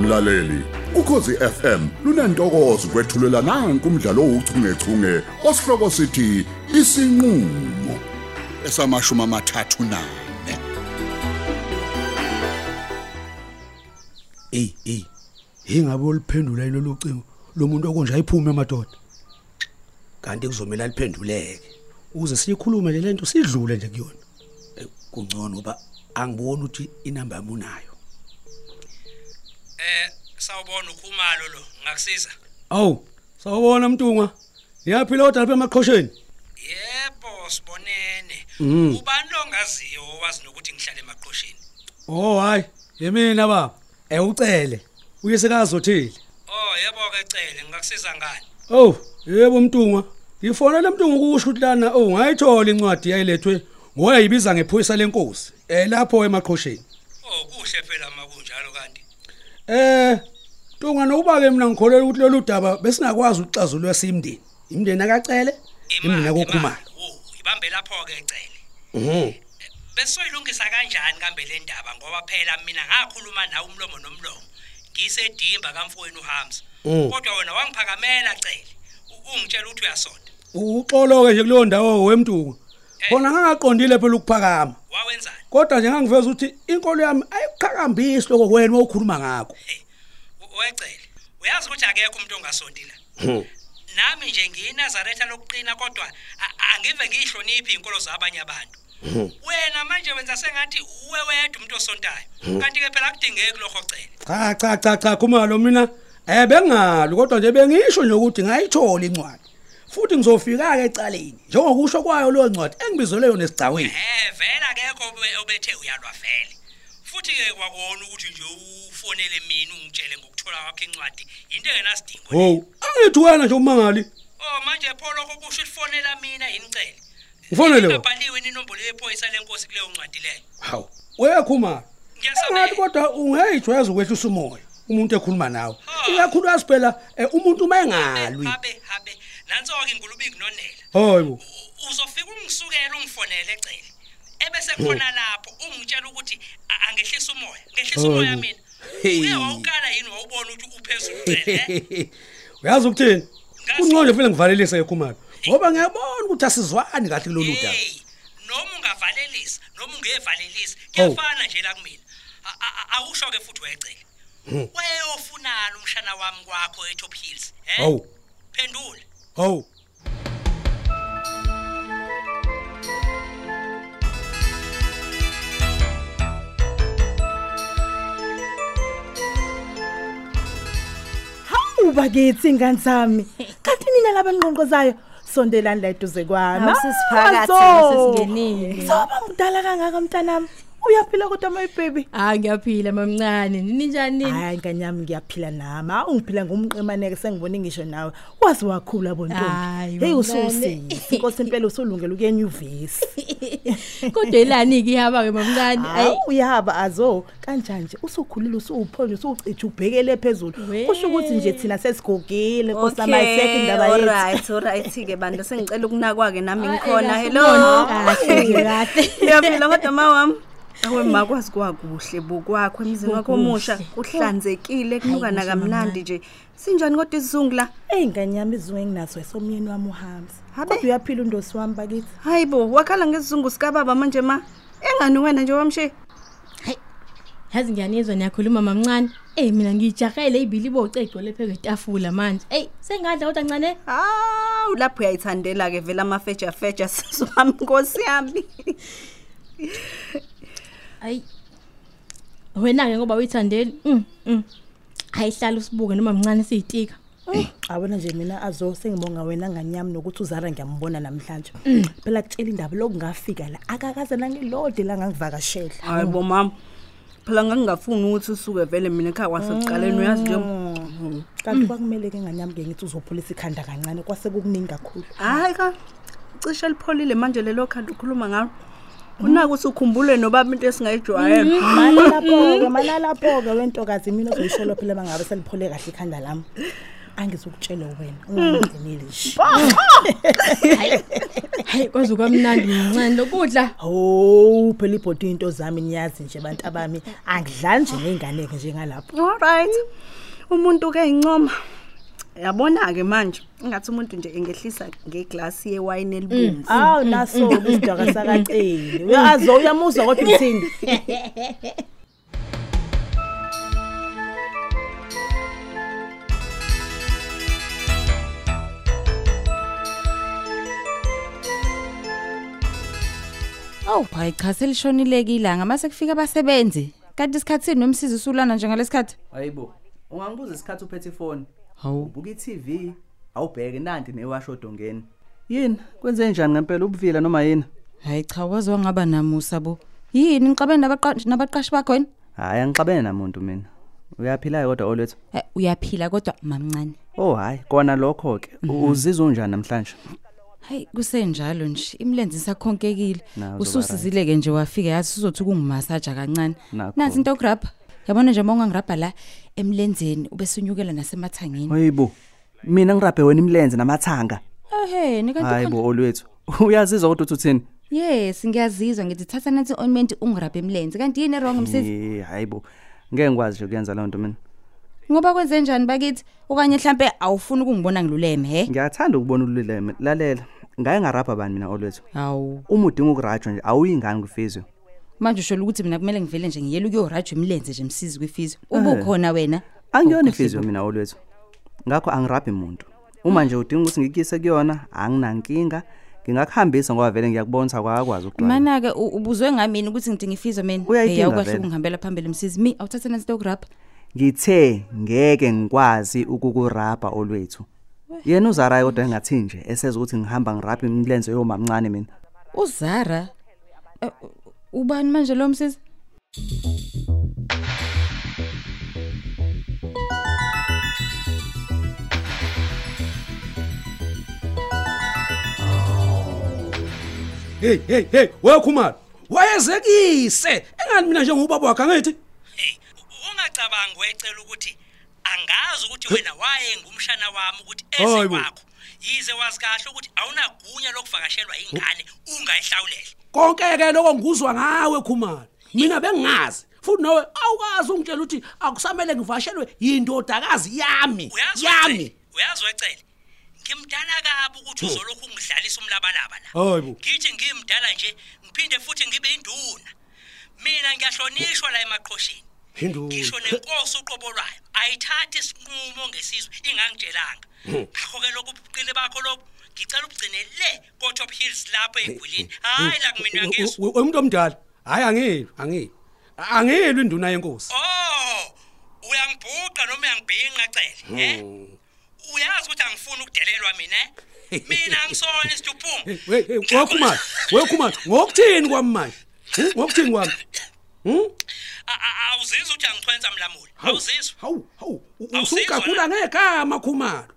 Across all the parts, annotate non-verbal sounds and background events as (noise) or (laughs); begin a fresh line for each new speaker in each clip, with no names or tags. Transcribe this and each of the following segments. mlaleli ukhosi FM lunantokozo kwethulela nanku umdlalo ouchungechunge osihloko sithi isinqulo esamashumi amathathu nane
Ey ey. Hingabe uliphendula yilo locingo lomuntu okunje ayiphume emadoda. Kanti kuzomela aliphenduleke. Uze siyikhulume le lento sidlule nje kuyona. Eh, Kungcono ba angiboni ukuthi inamba yami unayo.
Eh sawubona ukhumalo lo ngakusiza.
Awu, sawubona mntungwa. Ngiyaphila kodwa lapha emaqhosheni.
Yebo sibonene.
Mhm.
Ubani longaziyo owazi nokuthi ngihlale emaqhosheni?
Oh hayi, yemina baba. Eh ucele. Uyesekazothile.
Oh yebo ke cele ngakusiza ngani?
Oh, yebo mntungwa. Ngifonela mntungwa ukusho ukuthi lana oh ngayithola incwadi yayilethwe ngoyayibiza ngephoyisa lenkosi. Eh lapho emaqhosheni.
Oh kuhle phela makunjalo kanti.
Eh Mntungwa nokuba ke mina ngikholela ukuthi lolu daba besingakwazi ukuxazulwa simndeni. Imndeni akacele, imndeni akokhumala.
Oh ibambe lapho ke cele.
Mhm.
Besoyilungisa kanjani kambe le ndaba ngoba phela mina ngakhuluma nawe umlomo nomlomo. Ngisedimba kamfweni uHamza.
Mm.
Kodwa wena wangiphakamela cele. U- Ungitshela ukuthi uyasonda.
Uxolo ke nje kuleyo ndawo wemntungwa. Khona ngangaqondile phela ukuphakama.
Wawenzani?
Kodwa nje ngangiveza ukuthi inkolo yami ayiqhakambisi lokho kwena okhuluma ngakho.
Hey, u- wecele. Uyazi ukuthi akekho umuntu ongasondi la. Nami nje ngiyinazaretha lokuqina kodwa a- angive ngiyihloniphi inkolo zabanye abantu.
Hmm.
Wena manje wenza sengathi uwe wedwa umuntu osontayo.
Hmm.
Kanti ke phela akudingeki lokho cele.
Cha cha cha cha khumalo mina eh bengalo kodwa nje bengisho nje ukuthi ngayithola incwadi. Futhi ngizofika ke ecaleni njengokusho kwayo lo ncwadi engibizele yona esigcaweni.
Eh vela akekho obe- obethe uyalwa vele. Futhi ke kwakona ukuthi nje ufonele mina ungitshele ngokuthola kwakhe incwadi into engenasidingo. le.
Ho, angithi wena nje umangali.
Oh manje pho lokho kusho ifonela mina yini cele.
Ufonele wena.
Ngibhaliwe inombolo yephoyisa lenkosi kuleyo ncwadi leyo.
Hawu, wena khumalo.
Ngiyasabela.
Ngathi kodwa ungayijwayeza ukwehlisa umoya umuntu ekhuluma nawe.
Oh.
Ikakhulu asiphela eh, umuntu mayengalwi.
Habe habe. Nanso ke ingulube ikunonela.
Hoyibo.
U- Uzofika ungisukela ungifonele ecele. Ebese khona lapho ungitshela ukuthi a- angehlisa umoya. Ngehlisa umoya
Hawu.
mina.
Oh. Hey.
Uye wawukala yini wawubona ukuthi uphezulu eh? cele.
Uyazi ukuthini?
Ngasi-
Ungcono vele ngivalelise ekhumalo. Ngoba ngiyabona ukuthi asizwani kahle kulolu daba.
Hey. Noma ungavalelisa, noma ungevalelisa,
Oh.
kuyafana nje la kumina. A- a- a- Awusho ke futhi wecele.
Hmm.
Weyofunana umshana wami kwakho eTop Hills, eh?
Hawu.
Phendula.
Hawu.
Hawu bakithi ngantsami. Kanti nina labanqonqozayo sondelani la eduze kwami.
Hawu, sisiphakathi,
Azo.
sesingenile.
Soba mdala kangaka mntanami. Uyaphila kodwa my baby.
Hayi ngiyaphila mamncane ninjani nini
Hayi nganyami ngiyaphila nama. Ungiphila ngumqemaneke sengibone ngisho nawe. Wazi wakhula
Hayi,
bontombi. Hey
mngane.
ususi. Inkosi impela usulungela ukuya enyuvesi.
(laughs) kodwa elani ke ihaba ke mamncane
Hayi
ayi
uyahaba azo kanjani nje usukhulile usuwuphonje usucija ubhekele phezulu.
We.
Kusho ukuthi nje thina sesigogile nkosamayisekhe indaba yethu.
right alright ke bantu sengicela ukunakwa ke nami
Ah,
ngikhona
eh,
hello
kahle, kahle, kahle.
Yaphila kodwa mawami awe makwazi kwakuhle bokwakho emzini wakho
Kukuhle.
omusha uhlanzekile kunuka
kuhle,
nakamnandi nje sinjani kodwa isizungu la
Ey ngane yami izwe enginaso esomyeni wami uhambi.
Habe.
Kodwa uyaphila undosi wami bakithi.
hayi bo wakhala ngesizungu sikababa manje ma engani wena nje wamshe
yazi ngiyanizwa niyakhuluma mamncane Eh mina ngijahele ibilibo ocego lephe kwetafula manje hey sengadla kodwa ncane
hawu lapho uyayithandela ke vele amafeja feja (laughs) sizwami nkosi yami
ayi wena ke ngoba uyithandeli mm mm. ayihlala usibuke noma mncane siyitika
Awona nje mina azo sengibonga wena ngane yami nokuthi uzara ngiyambona namhlanje. Phela kutshela indaba lokungafika la akakaze nangilode la ngangivakashela.
hayi bo mama phela ngangingafuni ukuthi usuke vele mina ekhaya kwasekuqaleni uyazi nje
Kanti kwakumele ke ngane yami ke ngithi uzopholisa ikhanda kancane kwase kukuningi kakhulu.
hayi ka cishe lipholile manje lelo khanda ukhuluma ngalo unako ukuthi ukhumbule nobaba into esingayijwayela
Malapho ke malapho ke wentokazi mina uzoyishola phela mangabe seliphole kahle ikhanda lami. angizukutshela wena ungangeneli nje
hayi kwaze kwamnandi mncane lokudla
hawu phela ibhodi into zami niyazi nje bantu abami angidlali nje ney'nganeke njengalapho
Alright. Umuntu ke incoma. Yabona ke manje ingathi umuntu nje engehlisa ngeglass yewine elibomvu.
awu nasoke isidwaka sakaceli (laughs) uyazo uyamuzwa kodwa uthini
Aw hayi cha selishonileke ilanga mase kufika abasebenzi. Kanti isikhatsini nomsizi usulana njengalesikhathi?
hayibo ungangibuza isikhathi uphethe ifoni
Hawu.
ubuka i-tv awubheke nanti newashodongeni yini kwenze njani ngempela ubuvila noma yini
Hayi cha wazi wangaba namusa bo. Yini nixabene nabaqashi nabaqashi bakho yini?
hhayi angixabene namuntu mina uyaphilayo kodwa olwethu
Eh, Uyaphila kodwa mamncane.
oh hhayi kona lokho-ke uzizwa unjani namhlanje
Hayi kusenjalo nje imlenze sakhonkekile.
Nazo
Ususizile ke nje wafika yazi sizothi kungumasaja kancane.
Nakho.
Nansi into grabha. Yabona nje mawungangirabha la emlenzeni ubese unyukela nasemathangeni.
hayibo mina ngirabhe wena imlenze namathanga
Ehhe nikanti
hayibo olwethu (laughs) uyazizwa kodwa uthi uthini
Yes ngiyazizwa ngithi thatha nathi ointment ungirabhe emlenze kanti yini wrong msisi?
Eh, hayibo ngeke ngikwazi nje kuyenza leyo nto mina
Ngoba kwenze njani bakithi? Okanye mhlambe awufuni ukungibona ngiluleme he?
ngiyathanda ukubona ululeme lalela ngaye ngarabha bani mina olwethu
Hawu.
uma udinga ukurajwa nje awuyingane kufiziwe
Manje usho ukuthi mina kumele ngivele nje ngiyele ukuyorajwa imlenze nje msizi kwifizwe.
Eh.
Ubukhona wena?
angiyona
Awukahle
inhliziyo
bo.
mina olwethu ngakho angirabhi muntu uma nje udinga ukuthi ngikuyise kuyona anginankinga ngingakuhambisa ngoba vele ngiyakubona ukuthi awakwazi ukudwa
Mana ke ubuzwe ngamini ukuthi ngidinga ifizwe mina.
Uyayidinga
awukahle
vele.
ukungihambela phambili msizi. Mi awuthathe nansi dokurapha.
ngithe ngeke ngikwazi ukukurabha olwethu yena uzarayo kodwa engathi nje eseza ukuthi ngihamba ngirabha imilenze yomamncane mina
Uzara. Eh, Ubani manje lo msizi?
hey hey hey wekhumalo wayezekise engani mina njengobaba wakhe angithi
Hey, u- ungacabangi wecela ukuthi angazi ukuthi wena waye ngumshana wami ukuthi eze
Hayi bo.
kwakho. Yize wazi kahle ukuthi awunagunya lokuvakashelwa ingane ungayihlawulele.
konke ke lokho ngikuzwa ngawe khumalo mina bengingazi futhi nawe awukazi ungitshela ukuthi akusamele ngivashelwe yindodakazi yami
Uyazi
yami
wecele, uyazi wecele. Ngimdala kabi ukuthi uzolokhu ungidlalisa umlabalaba la.
Hayi bo.
Ngithi ngimdala nje ngiphinde futhi ngibe induna. Mina ngiyahlonishwa la emaqhosheni.
hindu
ngisho nenkosi uqobolwayo ayithathi isinqumo ngesizwe ingangitshelanga ngakho-ke loku buqile bakho lobu ngicela ubugcine le kotop hills lapho ey'gwilini hhayi la kumina ngizwa
umuntu omdala hayi angilwi angilwi angilwi induna yenkosi
oh uyangibhuqa noma uyangibhinqa cele um uyazi ukuthi angifuni ukudelelwa mina (laughs) eh? mina angisona isituphumu
Hey, hey, hey, wekhumalo wekhumalo ngokuthini kwami manje Hmm? ngokuthini kwami
awuzizwa ukuthi angichwenza mlamuli awuzizwa
hawu hawu u-
Awusizwa
usungigagula ngegama khumalo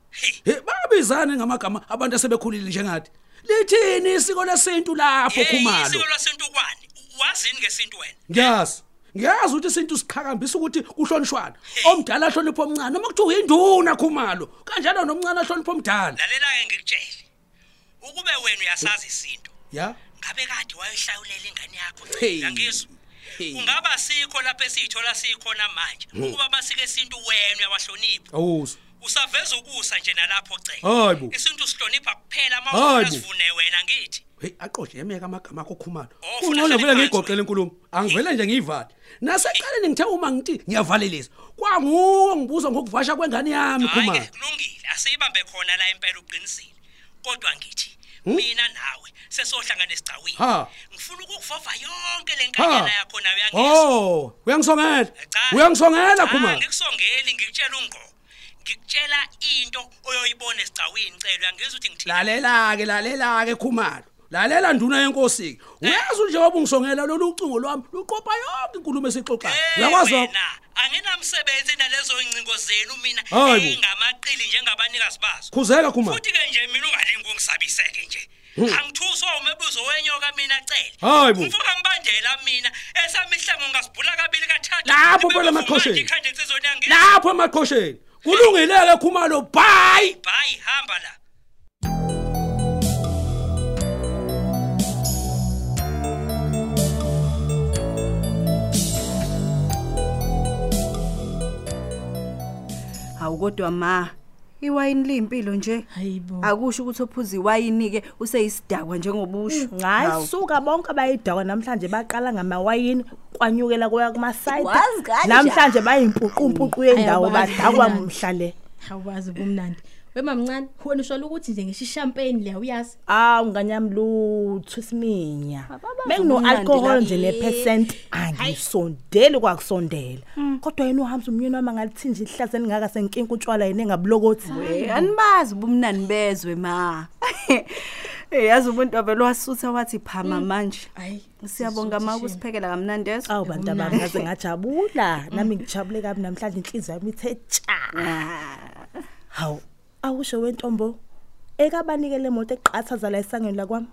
Hey, babizane ngamagama abantu asebekhulile njengathi lithini isiko lesintu lapho khumalo
Eh, isiko lwasintu kwani wazini ngesintu wena
ngiyazi ngiyazi ukuthi isintu siqhakambisa ukuthi kuhlonishwana omdala ahloniphe omncane noma kuthiwa uyinduna khumalo kanjalo nomncane ahloniphe omdala
lalela-ke ngikutshele ukube wena uyasazi isinto
ya
ngabe kade wayohlawulela ingane yakho
Hey.
yangizwa
Hey. Hmm.
ungaba sikho lapho esiyithola sikhona manje ukuba basike isintu wena uyawahlonipha
awuzwa
usaveza ukusa nje nalapho
Hayi bo.
cele isintu sihlonipha kuphela
Hayi bo.
maasivune wena ngithi
heyi aqojemeka amagama akho khumalo
Oh, funa
kungcono vele
ahlale phansi
ngiyigoqele inkulumo angivele nje ngiyivale naseqaleni ngithe uma ngithi ngiyavalelisa kwanguwo ngibuza ngokuvasha kwengane yami
hayi-ke
khumalo
kulungile asiyibambe khona la impela uqinisile kodwa ngithi mina nawe sesohlangana esigcawini
Hmm? Ha.
ngifuna ukukuvova yonke le
Ha.
nkanyana yakho nawe yangizwa
o uyangisongela
Cha.
uyangisongela
Cha,
Oh, khumalo
Ngikusongeli ngikutshela ungqo. Ngikutshela into oyoyibona esigcawini celo yangizwa ukuthi ngithini.
lalela-ke lalela-ke khumalo lalela nduna yenkosi-ke uyazi njengoba ungisongela lolu ucingo lwami luqopha yonke inkulumo esixoxayo uyakwazi lokho?
Eh, Anginamsebenzi nalezo incingo zenu mina
Hayi bo.
engamaqili njengabanikazi bazo.
khuzeka khumalo
Futhi ke nje mina ungalingi ungisabiseke nje. Angithuswa umebuzo wenyoka mina cele.
Hmm. Hayi bo.
Mfuka ngibandela mina esamihlengo ngasibhula kabili kathathu.
Lapho phela
Bebevuma nje
emaqhosheni.
ikhanda insizweni yangizwa.
lapho emaqhosheni kulungileke khumalo bhayi
bhayi hamba la
hawu kodwa ma iwayini liyimpilo nje
Hayibo.
akusho ukuthi ophuza iwayini-ke useyisidakwa njengobusho
hayi suka bonke bayidakwa namhlanje baqala ngamawayini kwanyukela kuya kumasayida
Wazi kanjani?
namhlanje bayimpuqumpuqu yendawo
Ayawazi
badakwa
kanjani.
mhla le
Awazi ubumnandi. Wemamncane, wena usho ukuthi nje ngeshishampeni leya uyazi.
awu nganyami lutho isiminya
Ababazi
bekuno-alkohol
ubumnandi
nje
la-
nephesenti angisondeli kwakusondela kodwa yena uhambe umyeni wami angalithi nje ihlaza elingaka senkinga utshwala yena engabulokothi
Eh, anibazi ubumnani bezwe ma Eh, yazi umuntu wabelo wasutha wathi phama manje
Hayi.
siyabonga ma ukusiphekela kamnandi eso
awu bantu abami ngaze ngajabula nami ngijabule kabi namhlanje inhliziyo yami ithe tsha
Ah,
hawu awusho wentombo ekabanikele emoto eqathaza la esangeni lakwami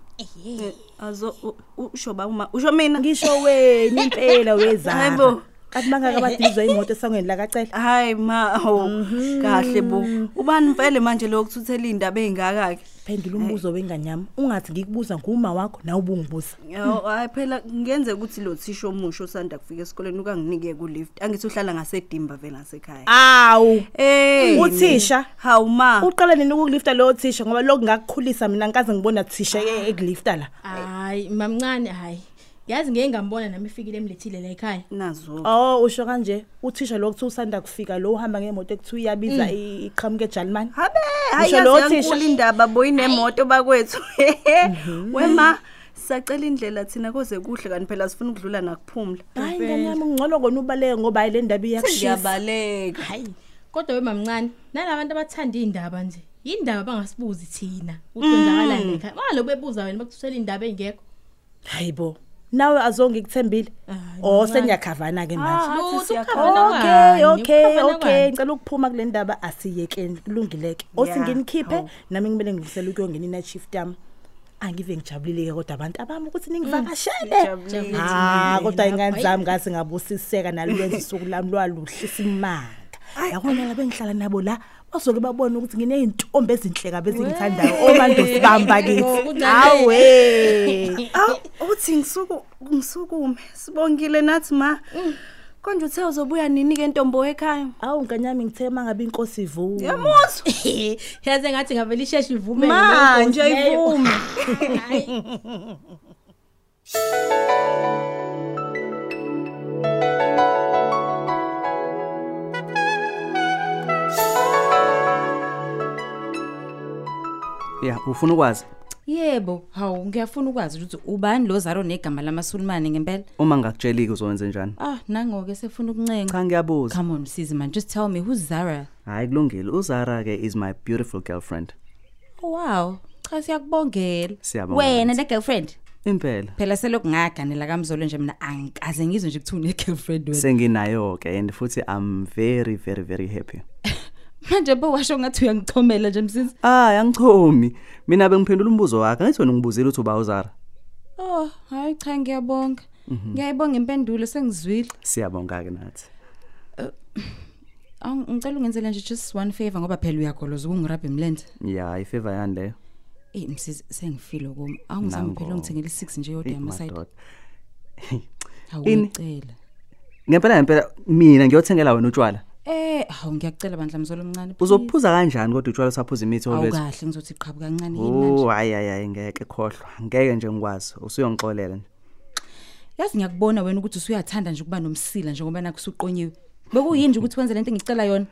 azo u- u- usho ba uma usho mina
ngisho wena impela wezabo
Hayibo.
kanti bangaka badizwa imoto esangweni lakacela
hayi ma ho kahle bo ubani mfele manje lo okuthuthela indaba ezingaka ke
phendula umbuzo wenganyama ungathi ngikubuza nguma wakho nawe ubungibuza
hayi phela ngenze ukuthi lo thisha omusha osanda kufika esikoleni ukanginike ku lift angithi uhlala ngasedimba vela ngasekhaya
awu
eh
Ah, Uthisha?
hawu ma
uqala nini ukulifta leyo thisha ngoba lokhu ngakukhulisa mina ngikaze ngibona thisha e- ekulifta la
Hayi, mamncane hayi. Yazi ngeke ngambona nami ifikile emlethile la ekhaya.
nazo
oh usho kanje uthisha lo kuthiwa usanda kufika lo uhamba ngemoto ekuthiwa iyabiza i- iqhamuka ejalimani
Habe,
Ngisho lo
hayi
thisha-
yankulu indaba boyinemoto bakwethu. (laughs) Wema sacela indlela thina koze kuhle kanti phela sifuna ukudlula nakuphumla.
hayi nganyama ngcono kona ubaleke ngoba hayi le ndaba iyakushisa
Ngiyabaleka.
Hayi. Kodwa wemamncane, nalabantu abathanda indaba nje. Yindaba bangasibuzi thina.
Mm.
Uqondakalani ekhaya. Manje bebuza wena bakuthusela indaba engekho.
hayi bo nawe azonge ngikuthembile
Hayi,
o sengiyakhavana-ke manje
Ah,
Lutho,
athi
ukukhavana
siyakhona.
okay
kwani,
okay
ukukhavana
okay
kwani.
ngicela ukuphuma kule ndaba asiyekeni kulungileke othi
Yeah, Oh.
nginikhiphe
hawu.
nami ngimele ngivusele ukuyongena i-night yami angive ngijabulile-ke kodwa abantu abami ukuthi ningivakashele
Ngijabulile.
ha kodwa
Ngijabulile
ingane
lapha.
zami ngaze ngabusiseka nalwenza usuku lami lwaluhlisa imanga yakona
ah.
la bengihlala nabo la bazoke babona ukuthi nginey'ntombi ezinhle kabe ezingithandayo obandosi bami bakithi hawe
Aw, uthi ngisuku ngisukume. Sibongile nathi ma. Konje uthe uzobuya nini ke ntombo ekhaya?
awu nganyami ngithe ma ngabe inkosi ivuka
Yamuzwa.
(laughs) Yaze ngathi ngavele isheshe ivume
Manje ayivume.
ya ufuna ukwazi
yebo hawu ngiyafuna ukwazi ukuthi ubani lo zaro negama lamasulumane ngempela
uma ngakutsheli-ke uzowenze njani
ah nangoke sefuna
cha
ukuncenga
ngiyabuza
come on msizi man just tell me who's zara
hhayi kulungile uzara-ke is my beautiful girlfriend
oh, wow cha siyakubongela
Siyabonga,
wena
Lutho.
ne-girlfriend
impela
phela selokhu ngaganela kamzolo nje mina angikaze ngizwe nje kuthiwa une-girlfriend wena
senginayo-ke and futhi i'm very very very happy
manje bo washo ngathi uyangichomela nje msizi
hayi angichomi mina bengiphendula umbuzo wakhe angithi wena ngibuzile uthi uba uzara
oh hayi cha ngiyabonga
Mhm.
ngiyayibonga impendulo sengizwile
siyabonga-ke nathi
Awu, ngicela ungenzele nje just one favor ngoba phela uyagoloza ukungirabha imlenze
ya ifeva yani leyo
eyi msizi sengifile kum awungizama phela
Nango.
ungithengela i-six nje yodwa
Eyi,
yamasayidi
madoda. Ini?
awucela
ngempela ngempela mina ngiyothengela wena utshwala
Eh, hawu ngiyacela bandla mzolo omncane.
uzophuza kanjani kodwa utshwala usaphuza imithi olwethu
awukahle ngizothi qhabu kancane yini
o
manje.
Oh, hayi hayi hayi ngeke khohlwa ngeke nje ngikwazi usuyongixolela nje
Yazi ngiyakubona wena ukuthi usuyathanda nje ukuba nomsila njengoba nakho usuqonyiwe. Bekuyini nje ukuthi wenze lento engicela yona?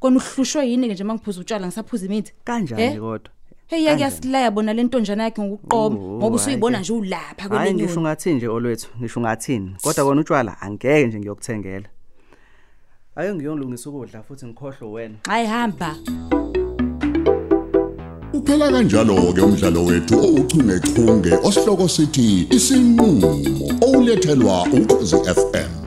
Kona uhlushwe yini ke nje mangiphuza utshwala ngisaphuza imithi? Eh?
kanjani kodwa
Hey yake
Kanjani?
yasilaya bona lento njana yakhe ngokuqoma
Oh,
ngoba
hhayi
usuyibona
ke.
nje ulapha
hayi
kwenyoni.
ngisho ungathini nje olwethu ngisho ungathini kodwa kona utshwala angeke nje ngiyokuthengela ayo ngiyongilungisa ukudla futhi ngikhohlwe wena
Hayi hamba.
Uphela kanjalo ke umdlalo wethu ouchungechunge osihloko sithi isinqulo olethelwa ukhozi FM.